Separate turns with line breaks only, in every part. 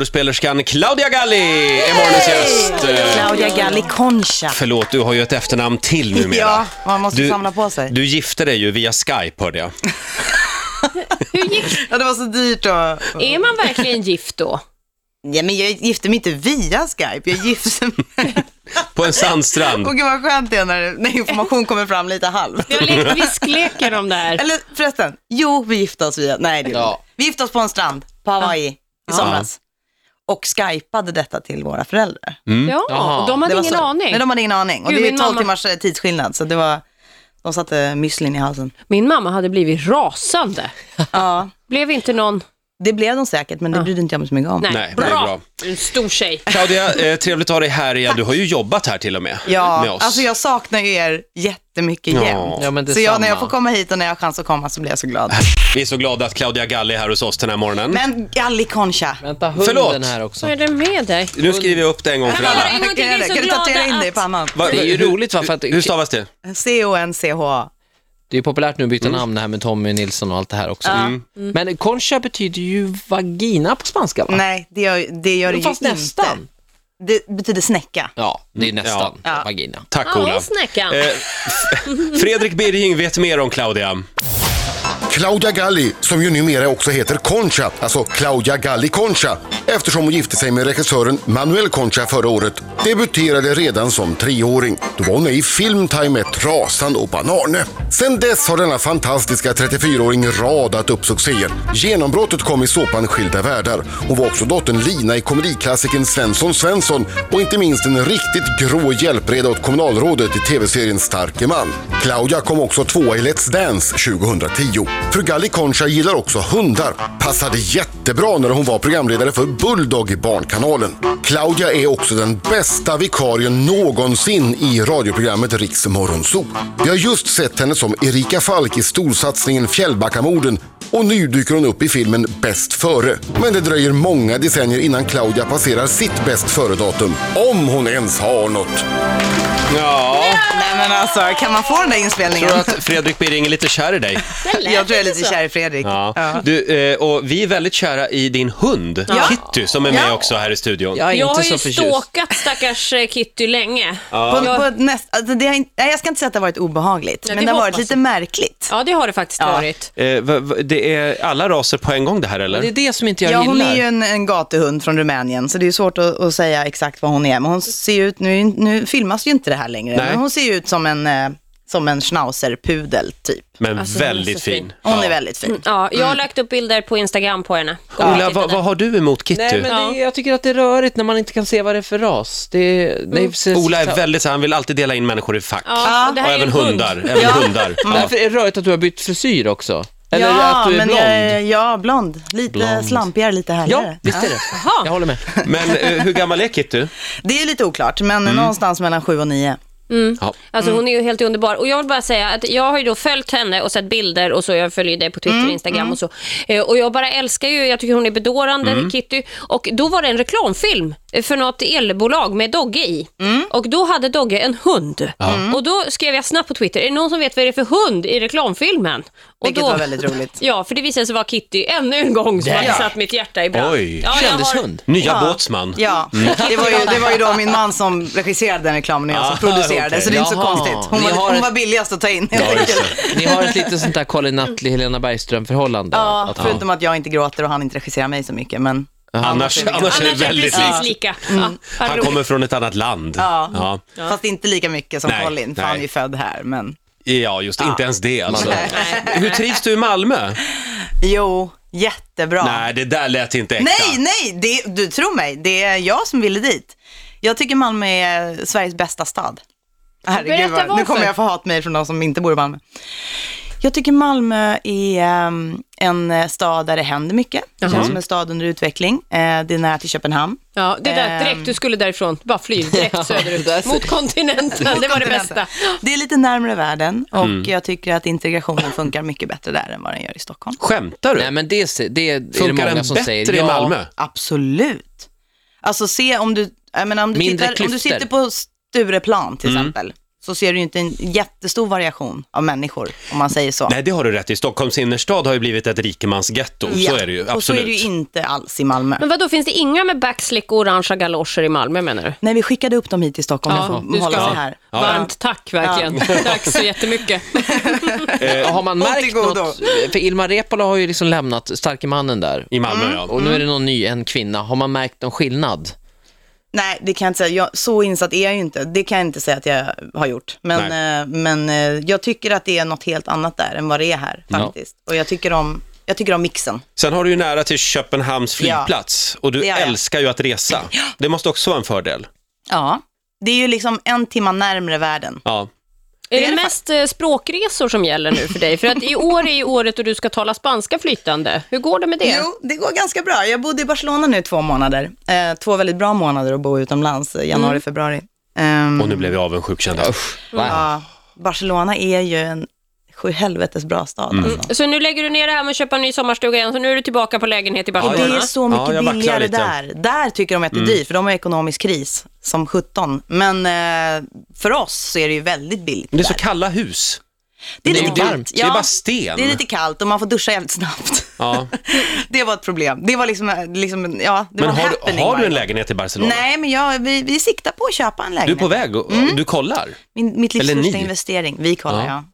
Skådespelerskan Claudia Galli är morgonens gäst. Eh,
Claudia Galli Concha.
Förlåt, du har ju ett efternamn till numera.
Ja, man måste samla på sig.
Du gifte dig ju via Skype hörde jag.
Hur gick,
Ja, det var så dyrt då.
är man verkligen gift då?
Ja, men jag gifte mig inte via Skype, jag gifte
Mm.
mig.
På en sandstrand.
Och gud vad skönt det är när, när information kommer fram lite halvt.
Vi har lekt visklekar om det här.
Eller förresten, jo vi gifte oss via, nej det gjorde vi inte. Vi gifte oss på en strand på Hawaii i somras. Och skypade detta till våra föräldrar.
Ja, och de hade
Det var
ingen
så.
aning.
Nej, de hade ingen aning. Och
Gud,
det är
min
12
mamma-
timmars eh, tidsskillnad, så det var, de satte müslin i halsen.
Min mamma hade blivit rasande.
Ja,
Blev inte någon...
det blev de säkert, men det brydde inte jag mig så mycket om.
Nej,
Nej, det
bra.
är bra.
En stor tjej.
Claudia, eh, trevligt att ha dig här igen. Du har ju jobbat här till och med. med
Ja,
oss.
alltså jag saknar ju er jättemycket
Ja.
jämt.
Ja, men
så jag, när jag
detsamma.
får komma hit och när jag har chans att komma så blir jag så glad.
Vi är så glada att Claudia Galli är här hos oss den här morgonen.
Men Galli Concha.
Vänta, hunden
Förlåt.
här
Vad
också.
är det med dig?
Nu skriver jag upp det en gång för alla.
En gång till, vi är så
Kan du tatuera
glada
in dig i
att-
pannan?
Va-
Det är ju
hur-
roligt, va, för att-
Hur stavas det?
C-O-N-C-H-A.
Det är populärt nu att
Mm.
byta namn det här med Tommy Nilsson och allt det här också.
Mm.
Men concha betyder ju vagina på spanska va?
Nej, det gör det, gör det
Fast
ju
nästan.
inte. Det betyder snäcka.
Ja, det är
Mm.
nästan
Ja.
vagina.
Tack
Ja,
Ola.
och snäckan.
Eh, F- Fredrik Birging vet mer om Claudia.
Claudia Galli, som ju numera också heter Concha, alltså Claudia Galli Concha, eftersom hon gifte sig med regissören Manuel Concha förra året, debuterade redan som treåring. Då var hon med i Filmtime med Trasan och Banane. Sen dess har denna fantastiska 34-åring radat upp succéer. Genombrottet kom i såpan Skilda världar. Hon var också dottern Lina i komediklassikern Svensson Svensson och inte minst en riktigt grå hjälpreda åt kommunalrådet i tv-serien Starke man. Claudia kom också tvåa i Let's Dance 2010. Fru Galli Concha gillar också hundar. Passade jättebra när hon var programledare för Bulldog i Barnkanalen. Claudia är också den bästa vikarien någonsin i radioprogrammet Riks Morgonzoo. Vi har just sett henne som Erika Falk i storsatsningen Fjällbackamorden och nu dyker hon upp i filmen Bäst före. Men det dröjer många decennier innan Claudia passerar sitt bäst före-datum. Om hon ens har något.
Ja,
Nej men alltså, kan man få den där inspelningen?
tror du att Fredrik Birging är lite kär i dig?
Det lät
jag tror jag är
inte
lite
så.
kär i Fredrik.
Ja.
Ja.
Du, eh, och vi är väldigt kära i din hund,
Ja.
Kitty, som är med
Ja.
också här i studion.
Jag är
Jag har
inte
ju
så förtjust.
stalkat stackars eh, Kitty länge.
På,
Jag-
på ett näst, alltså det har, in- nej, jag ska inte säga att det har varit obehagligt,
Nej,
men
det
det har varit
hoppas
lite
jag.
märkligt.
Ja, det har det faktiskt varit.
Eh, va, va, det är alla raser på en gång det här, eller?
Det är det som inte jag
Ja, hon
gillar.
är ju en, en gatuhund från Rumänien, så det är ju svårt att, att säga exakt vad hon är. Men hon ser ju ut, nu, nu filmas ju inte det här längre,
Nej.
men hon ser ju ut som en, eh, som en schnauzerpudel typ.
Men
Alltså, hon är
väldigt
så
fin.
fin.
Hon är väldigt fin.
Ja, jag har lagt upp bilder på Instagram på henne. Gå och
Ola,
titta
vad,
där.
vad har du emot Kitty?
Nej, men det, jag tycker att det är rörigt när man inte kan se vad det är för ras. Det, är-
Mm.
det är precis,
Ola är väldigt så han vill alltid dela in människor i fack.
Ja, och det
Och
här är
även
en hund.
hundar. Även hundar. Ja.
Därför är det rörigt att du har bytt frisyr också. Eller
ja,
att du är
men
blond.
Jag, ja, blond. Lite slampigare, lite
Ja,
härligare.
visst är det. Jag håller med.
Men eh, hur gammal är Kitty?
Det är lite oklart, men
Mm.
någonstans mellan sju och nio.
Ja.
Alltså hon är ju helt underbar. Och jag vill bara säga att jag har ju då följt henne och sett bilder och så. Jag följer ju dig på
Mm,
Twitter och Instagram och så. Eh, och jag bara älskar ju, jag tycker hon är bedårande,
Mm.
Kitty. Och då var det en reklamfilm eh, för något elbolag med Dogge i.
Mm.
Och då hade Dogge en hund. Mm. Och då skrev jag snabbt på Twitter, är det någon som vet vad det är för hund i reklamfilmen? Och
Vilket
då,
var väldigt roligt.
Ja, för det visade sig vara Kitty ännu en gång som hade satt mitt hjärta i brand.
Oj.
ja, jag har-
Kändishund.
Nya båtsman.
Ja,
Mm.
det var, ju, det var ju då min man som regisserade den reklamen och jag som
Ah,
producerade,
okej.
så det är inte så
Jaha.
konstigt. Hon
Ni
var,
har
hon
ett-
var billigast att ta in helt
Ja, just
enkelt.
det.
Ni har ett litet sånt där Karin Attlee-Helena Bergström-förhållande.
Ja,
Att-
förutom att jag inte gråter och han inte regisserar mig så mycket, men
Annars, annars är det
Annars är det
väldigt likt.
precis lika. Ja, vad
Han
roligt.
kommer från ett annat land. Ja,
Ja. Fast inte lika mycket som
Nej,
Colin, för
nej.
han är ju född här. Men...
ja just det. Inte ens det alltså.
Nej.
Hur trivs du i Malmö?
Jo, jättebra.
Nej, det där lät inte äkta.
nej, nej det, du tror mig, det är jag som ville dit. Jag tycker Malmö är Sveriges bästa stad. Herregud,
Berätta
vad, nu
varför.
kommer jag få hatmejl från de som inte bor i Malmö. Jag tycker Malmö är ehm, en eh, stad där det händer mycket. Det känns som en stad under utveckling. Eh, det är nära till Köpenhamn.
Ja, det
Ehm.
där direkt du skulle därifrån. Bara flyg direkt söderut. Mot kontinenten. Det var det bästa.
Det är lite närmare världen och
Mm.
jag tycker att integrationen funkar mycket bättre där än vad den gör i Stockholm.
Skämtar du?
Nej, men det, det, det är det
Funkar
många
den
som
bättre
säger.
i
Ja,
Malmö?
Absolut. Alltså se om du, jag menar, om du,
Mindre
tittar, om du
klyftor.
Mm.
sitter på Stureplan till exempel, så ser du ju inte en jättestor variation av människor, om man säger så.
Nej, det har du rätt i. Stockholms innerstad har ju blivit ett rikemansgetto. Så är det ju, absolut.
Och så är det ju inte alls i Malmö.
Men vadå, finns det inga med backslick och orangea galoscher i Malmö menar du?
Nej, vi skickade upp dem hit till Stockholm, ja, de får hålla sig här.
Varmt tack verkligen. Tack så jättemycket.
Eh,
Ja, Eh, har man märkt
godo.
något? För Ilmar Reepalu har ju liksom lämnat starke mannen där.
I Malmö,
Mm.
ja.
Och nu är det någon ny, en kvinna. Har man märkt någon skillnad?
Nej, det kan jag inte säga. Jag, så insatt är jag ju inte. Det kan jag inte säga att jag har gjort. Men, eh, men eh, jag tycker att det är något helt annat där än vad det är här faktiskt. Och jag tycker om, jag tycker om mixen.
Sen har du ju nära till Köpenhamns flygplats och du
det har jag.
älskar ju att resa. Det måste också vara en fördel.
Ja. Det är ju liksom en timma närmre världen.
Ja.
Är det mest eh, språkresor som gäller nu för dig? För att i år är ju året då du ska tala spanska flytande. Hur går det med det?
Jo, det går ganska bra. Jag bodde i Barcelona nu två månader. Eh, två väldigt bra månader att bo utomlands, eh, januari, februari. Ehm,
Och nu blev jag avundsjuk kände jag.
Va?
ja, Barcelona är ju en sjuhelvetes bra stad.
Mm.
Alltså.
Så nu lägger du ner det här med att köpa en ny sommarstuga igen, så nu är du tillbaka på lägenhet i
Och
Barcelona.
det är så mycket
Ja, jag vacklar
billigare
lite. Mm.
där. Där tycker de att det är dyrt, för de har ekonomisk kris som 17. Men eh, för oss så är det ju väldigt billigt.
Men det är så kalla hus.
det är
det är ju
kallt.
varmt. Det är bara sten.
Det är lite kallt och man får duscha jävligt snabbt.
Ja.
det var ett problem. Det var liksom, liksom ja, det
Men
var
har, du-
happening
har du
varje
en
gång.
lägenhet i Barcelona?
Nej, Mm. men jag, vi, vi siktar på att köpa en
Du är
lägenhet.
på väg och du kollar?
Min, mitt livs
Eller
första
ni.
investering. Vi kollar, ja.
Ja.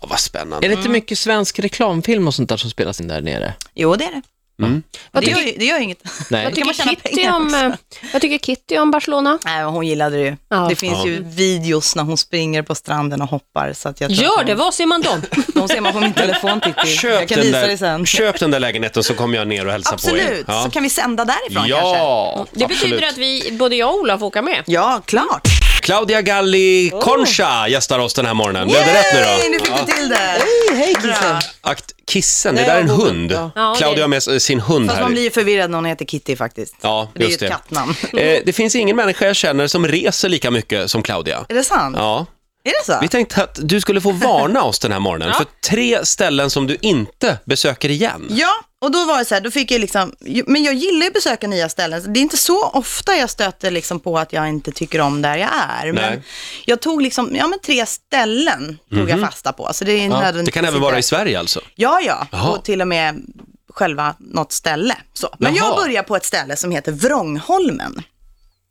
Ja, vad
Är
spännande.
det
Mm.
inte mycket svensk reklamfilm och sånt där som spelas in där nere?
Jo, det är det.
Vad
Det gör,
tycker,
ju- det gör ju inget.
Nej.
vad,
kan man
tycker
tjäna
Kitty
pengar
om,
också.
eh, vad tycker Kitty om Barcelona?
Nej, men hon gillade det ju.
Ja.
Det finns
Ja.
ju videos när hon springer på stranden och hoppar. Så att jag tror att
Gör
hon-
det, var ser man dem?
De ser man på min telefon, Titti. Jag
Köp
kan
den,
visa dig sen.
där, köp den där lägenheten så kommer jag ner och hälsar på er.
Absolut, så kan vi sända därifrån kanske.
Ja,
Det
absolut.
betyder att vi, både jag och Ola får åka med.
Ja, klart.
Claudia Galli Concha gästar oss den här morgonen. Blev det rätt nu
Oh. Yay,
då?
nu fick vi till det.
Hej
Bra.
Akt, kissen, det
Nej,
där är
jag
en
vågar
hund.
inte.
Ja, det-
Claudia har med sig sin hund
Fast
här.
man blir ju förvirrad när hon heter Kitty faktiskt.
Ja,
För det är ju
just
ett kattnamn.
Eh, det finns ingen människa jag känner som reser lika mycket som Claudia.
Är det sant?
Ja.
Är det så?
Vi tänkte att du skulle få varna oss den här morgonen för tre ställen som du inte besöker igen.
Ja, och då var det så här, då fick jag liksom, men jag gillar ju att besöka nya ställen. så Det är inte så ofta jag stöter liksom på att jag inte tycker om där jag är. Men
Nej.
jag tog liksom, ja men tre ställen tog jag fasta på. Så det är
Mhm. Ja,
nödvändigt.
det kan
att
även
sitta-
vara i Sverige alltså.
Ja, ja,
Jaha.
och till och med själva något ställe. Så. Men
Jaha.
jag börjar på ett ställe som heter Vrångholmen,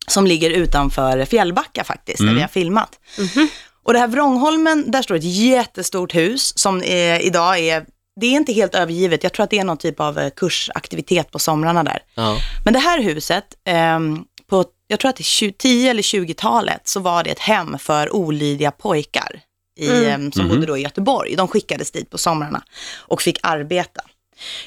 som ligger utanför Fjällbacka faktiskt,
Mm.
där vi har filmat. Och det här Vrångholmen, där står ett jättestort hus som eh, idag är, det är inte helt övergivet, jag tror att det är någon typ av eh, kursaktivitet på somrarna där.
Ja.
Men det här huset, ehm, på, jag tror att det är 20 10 eller 20-talet, så var det ett hem för olydiga pojkar i, ehm, som bodde då i Göteborg. De skickades dit på somrarna och fick arbeta.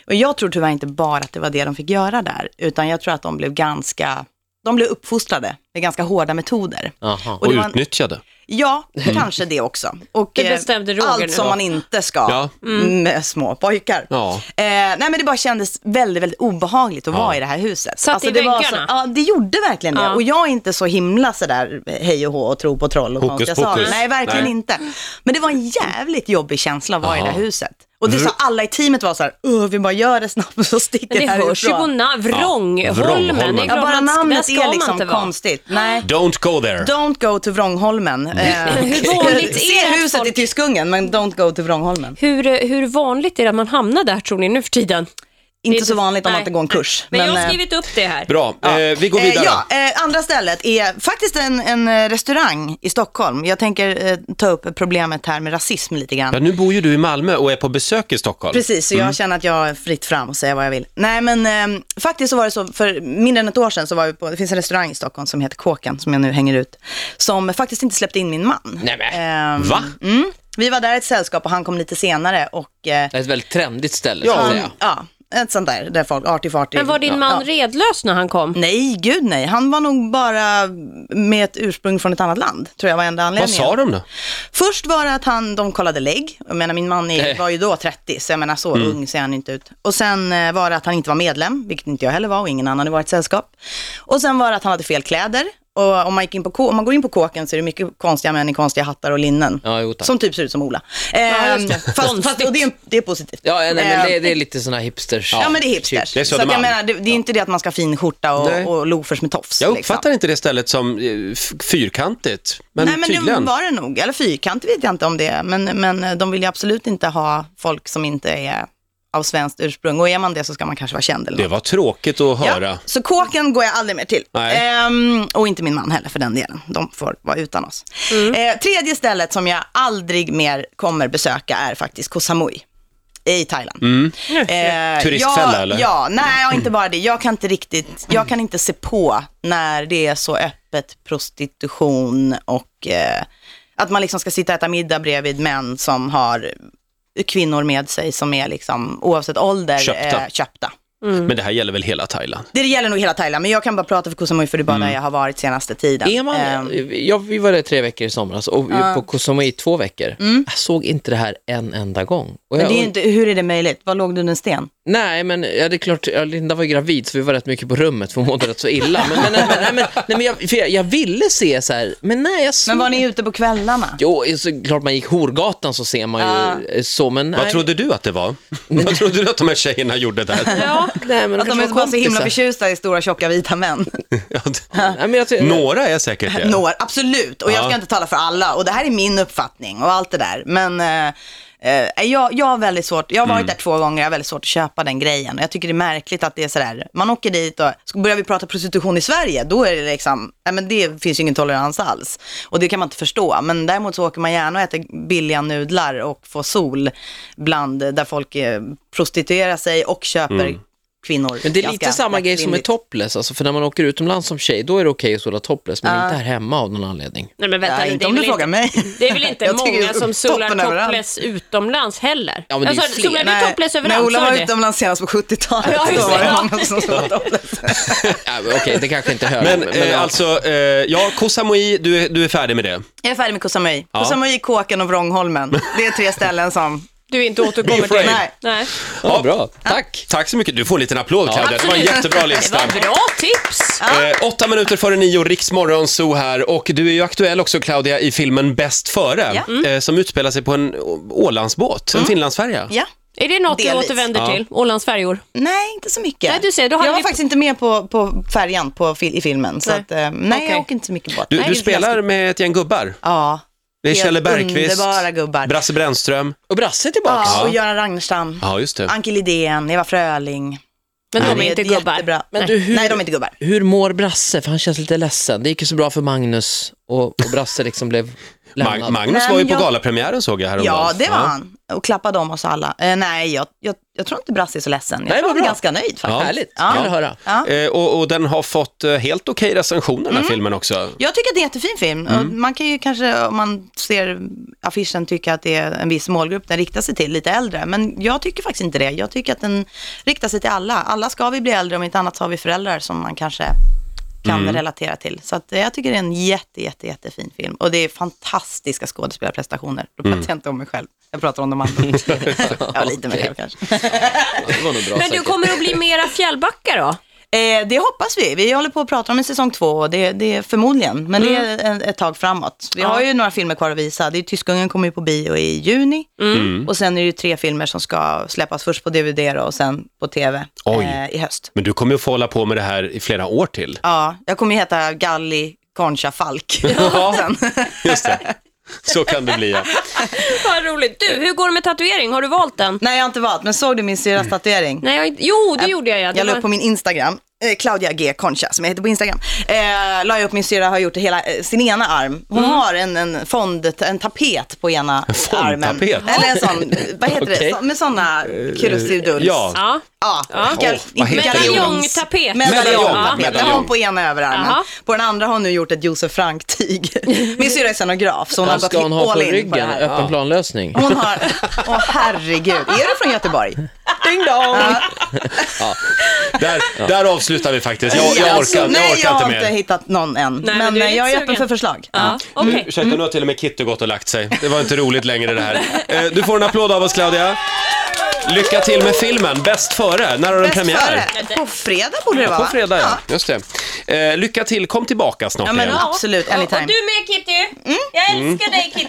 Och jag tror tyvärr inte bara att det var det de fick göra där, utan jag tror att de blev ganska, de blev uppfostrade med ganska hårda metoder.
Aha.
Och
det var en-
utnyttjade.
Ja, kanske det också. Och
Det
eh,
bestämde Roger
allt
nu
som
då.
man inte ska Mm.
Ja.
med små pojkar.
Ja.
Eh, nej men det bara kändes väldigt, väldigt obehagligt att vara i det här huset. Alltså,
Satt i
det var så,
väggarna?
Ja, det gjorde verkligen det.
Ja.
Och jag är inte så himla sådär hej och hå och tro på troll och
Hokus
konstiga saker.
pokus.
Nej, verkligen
Nej.
inte. Men det var en jävligt jobbig känsla att vara i det här
Jaha.
huset. Och
Mm.
det sa alla i teamet var så här, "Åh, vi bara gör det snabbt och så sticker
Men det hörs ju på
härifrån.
na-
Ja,
Vrångholmen.
Vrångholmen.
Det är
Ja,
Ja,
klart
bara
man- där
namnet
ska
är
man
liksom
inte vara.
konstigt. Nej.
Don't go there.
Don't go to Vrångholmen. Eh,
Hur vanligt är det
Se
att
huset
folk-
i Tyskungen, men don't go to Vrångholmen.
Hur, eh, hur vanligt är det att man hamnar där tror ni nu för tiden?
Inte
Det-
så vanligt om man
nej.
inte går en kurs.
Men, jag
eh,
har skrivit upp det här.
Bra, eh, vi går vidare.
Eh, ja, eh, andra stället är faktiskt en, en eh, restaurang i Stockholm. Jag tänker eh, ta upp problemet här med rasism lite grann.
Ja, Mm. nu bor ju du i Malmö och är på besök i Stockholm.
Precis, så jag känner att jag är fritt fram och säga vad jag vill. Nej men eh, faktiskt så var det så, för mindre än ett år sedan så var vi på, det finns en restaurang i Stockholm som heter Kåkan, som jag nu hänger ut, som faktiskt inte släppte in min man.
Nej, men.
Ehm,
Va?
Mm, vi var där i ett sällskap och han kom lite senare och eh,
Det är ett väldigt trendigt ställe, ja.
han,
säga.
ja, ett sånt där, där folk, artig fartig.
Men var din man redlös när han kom?
Nej, gud nej. Han var nog bara med ett ursprung från ett annat land, tror jag var enda
Vad
anledningen.
sa de då?
Först var det att han, de kollade lägg. Jag menar, min man
Eh.
är, var ju då 30, så jag menar så
Mm.
ung ser han inte ut. Och sen eh, var det att han inte var medlem, vilket inte jag heller var och ingen annan i vårt sällskap. Och sen var det att han hade fel kläder. Och om man, gick in på, K- om man går in på kåken så är det mycket konstiga män i konstiga hattar och linnen.
Ja, jo, tack.
som typ ser ut som Ola. Ehm,
just det.
fast, fast, och det, är, det är positivt.
Ja, nej,
Ehm,
men det, det är lite sådana hipsters.
Ja, men det är hipsters.
typ. Det är
så att jag
Södermalm.
menar, det, det är ju inte det att man ska ha fin skjorta
Nej.
och, och loafers med tofs.
Jag
liksom.
uppfattar inte det stället som eh, f- fyrkantigt, men,
Nej, men
tydligen.
det var det nog. Eller fyrkantig vet jag inte om det är. Men, men eh, de vill ju absolut inte ha folk som inte är av svenskt ursprung. Och är man det så ska man kanske vara känd eller
Det
något.
var tråkigt att höra.
Ja, så kåken går jag aldrig mer till.
Nej.
Ehm, och inte min man heller för den delen. De får vara utan oss. Eh, tredje stället som jag aldrig mer kommer besöka är faktiskt Koh Samui i Thailand. Eh,
Mm. Turistfälla,
jag,
eller?
Ja, nej och inte bara det. Jag kan inte riktigt, jag kan inte se på när det är så öppet prostitution och eh, att man liksom ska sitta och äta middag bredvid män som har kvinnor med sig som är liksom oavsett ålder
Köpta.
Eh, köpta.
Men det här gäller väl hela Thailand?
Det gäller nog hela Thailand, men jag kan bara prata för Koh Samui för det är bara där jag har varit senaste tiden.
Mm. Är man,
Ehm,
typ. ja, vi var där tre veckor i somras och på Koh Samui i två veckor. Jag såg inte det här en enda gång. Och
Mm. men
jag,
det är ju inte, hur är det möjligt? Var låg du under en sten?
Nej, men ja, det är klart, ja, Linda var ju gravid så vi var rätt mycket på rummet för hon mådde rätt så illa. Men, men, nej, men, nej, men, nej, men jag, för jag, jag ville se så här, men nej, jag såg...
Men var ni ute på kvällarna?
Jo, såklart man gick Horgatan så ser man ju
Ah.
eh, så, men nej.
Vad trodde du att det var? Vad trodde du att de här tjejerna gjorde där?
Ja.
nej, men
Att de
kanske
är
var
bara så himla
kompisar.
förtjusta i stora tjocka vita män.
Ja, det-
Nej, men jag, tror-
Några är säkert det.
Några, absolut. Och jag ska
Ja.
inte tala för alla. Och det här är min uppfattning och allt det där. Men eh, eh, jag, jag har väldigt svårt, jag har varit där två gånger, jag har väldigt svårt att köpa den grejen. Och Jag tycker det är märkligt att det är sådär, man åker dit och så börjar vi prata prostitution i Sverige, då är det liksom, nej men det finns ju ingen tolerans alls. Och det kan man inte förstå. Men däremot så åker man gärna och äter billiga nudlar och får sol bland, där folk eh, prostituerar sig och köper kvinnor.
Men det är
ganska
lite samma grej som med
lättvindigt.
topless, alltså, för när man åker utomlands som tjej, då är det okej att sola topless,
Ah.
men inte här hemma av någon anledning.
Nej, men vänta,
Nej,
nu,
inte
det är
om du
väl
frågar mig.
Det är väl inte
Jag tycker
många
ju
som solar
toppen överallt.
topless utomlands heller?
Ja, men det är ju
jag sa,
fler.
solar Alltså, du topless överallt?
när Ola
Sa du
var
det?
utomlands senast på 70-talet,
Ja, just
då var
det.
det många som såg topless.
Ja, men okej, det kanske inte hör.
Men,
men,
eh,
ja.
alltså, eh, ja, Koh Samui, du, är- du är färdig med det.
Jag är färdig med Koh Samui. Koh Samui, Kåken och Vrångholmen. Det är tre ställen som...
Du inte återkommer till
afraid.
det?
Nej.
Nej.
ja, bra. Tack.
Tack så mycket. Du får en liten applåd, Claudia. Det var en
Absolut.
jättebra lista.
Det var bra tips!
Eh, åtta minuter före nio, Riksmorgon så här. Och du är ju aktuell också, Claudia, i filmen Bäst före,
Ja. Mm.
eh, som utspelar sig på en å- Ålandsbåt, en Finlandsfärja.
Ja.
Är det något du
Delvis.
återvänder
Ja.
till? Ålandsfärjor?
Nej, inte så mycket.
Nej, du ser, då hade
jag var
vi-
faktiskt inte med på, på färjan på, fil- i filmen. Så
Nej.
att, eh, nej,
Okej.
jag åker inte så mycket båt.
Du,
Nej,
du
det är
spelar
läskigt.
med ett gäng gubbar.
Ja.
Det är
Helt
Kjelle Bergqvist,
Underbara gubbar.
Brasse Brännström.
Och Brasse är tillbaka.
ja, och Göran Ragnarstam.
Ja, just det.
Anke Lidén, Eva Fröling.
Men
Nej,
de är
det
inte
är
gubbar.
jättebra.
Men
Nej.
du, hur,
Nej, de är inte gubbar.
hur mår Brasse? För han känns lite ledsen. Det gick ju så bra för Magnus och, och Brasse liksom blev lämnad.
Mag- Magnus
Nej,
var ju
men
på
jag-
galapremiären såg jag häromdagen.
Ja, det var han. Och klappade om oss alla. Eh, nej, jag, jag, jag tror inte Brasse är så ledsen. Jag
Nej,
tror
vad
han är
bra.
ganska nöjd faktiskt.
Ja.
Härligt,
Ja.
kul att höra.
Ja. Mm.
Eh, och, och den har fått eh, helt okej recensioner, den här filmen också.
Jag tycker att det är en jättefin film. Och
Mm.
man kan ju kanske, om man ser affischen, tycka att det är en viss målgrupp den riktar sig till, lite äldre. Men jag tycker faktiskt inte det. Jag tycker att den riktar sig till alla. Alla ska vi bli äldre, om inte annat så har vi föräldrar som man kanske kan
Mm.
relatera till. Så att eh, jag tycker det är en jätte, jätte, jättefin film. Och det är fantastiska skådespelarprestationer. Då
Mm.
pratar jag inte om mig själv. Jag pratar om de andra. ja, lite mig själv kanske.
Det var nog bra
Men du
säkert.
kommer att bli mera fjällbacka då?
Eh, det hoppas vi. Vi håller på att prata om en säsong två och det, det är förmodligen, men det är en, ett tag framåt. Vi har ju några filmer kvar att visa. Det är, Tyskungen kommer ju på bio i juni och sen är det ju tre filmer som ska släppas först på DVD då, och sen på TV
Oj.
eh, i höst.
Men du kommer ju få hålla på med det här i flera år till.
Ja, jag kommer ju heta Galli Concha Falk. sen.
Just det. Så kan det bli, ja.
Vad roligt. Du, hur går det med tatuering? Har du valt den?
Nej, jag har inte valt, men såg du min syrras tatuering?
Nej, jag, har inte- jo, det gjorde jag. Ja. Det
Jag la
var-
upp på min Instagram, eh, Claudia G. Concha som jag heter på Instagram. Eh, la jag upp min syrra har gjort hela eh, sin ena arm. Hon
Mm.
har en, en fond, en tapet på ena
fondtapet?
armen. Eller en sån, vad heter
Okej.
det, Så, med sådana kurusiduls.
Ja.
Ja.
Ja,
Ja.
Gal-
Åh, vad
inte
heter det?
galions.
Medaljongtapet.
Medaljongtapet.
Ja.
Den har hon på ena överarmen.
Jaha.
På den andra har hon nu gjort ett Josef Frank-tyg. Min syrra är scenograf så hon har
Vad
gått
ska hon ha på
all in på det
ryggen?
här.
Öppen planlösning?
Hon har, åh herregud, är du från Göteborg? Ding dong!
Där, där avslutar vi faktiskt. Jag, jag
Ja,
orkar,
alltså,
jag
nej,
orkar
jag har
inte
inte
mer.
hittat någon än.
men
men
du är
eh,
lite
jag är öppen
sugen.
för förslag.
Ja, okej.
Ursäkta, nu har till och med Kitty gått och lagt sig. Det var inte roligt längre det här. Eh, Du får en applåd av oss, Claudia. Lycka till med filmen Bäst före. När har den
Bäst
premiär?
före. På fredag borde det vara.
På
va?
fredag, ja. Just det. Eh, lycka till. Kom tillbaka snart
Ja, men
igen.
absolut. Anytime. Mm.
Och du med Kitty. Jag älskar dig Kitty.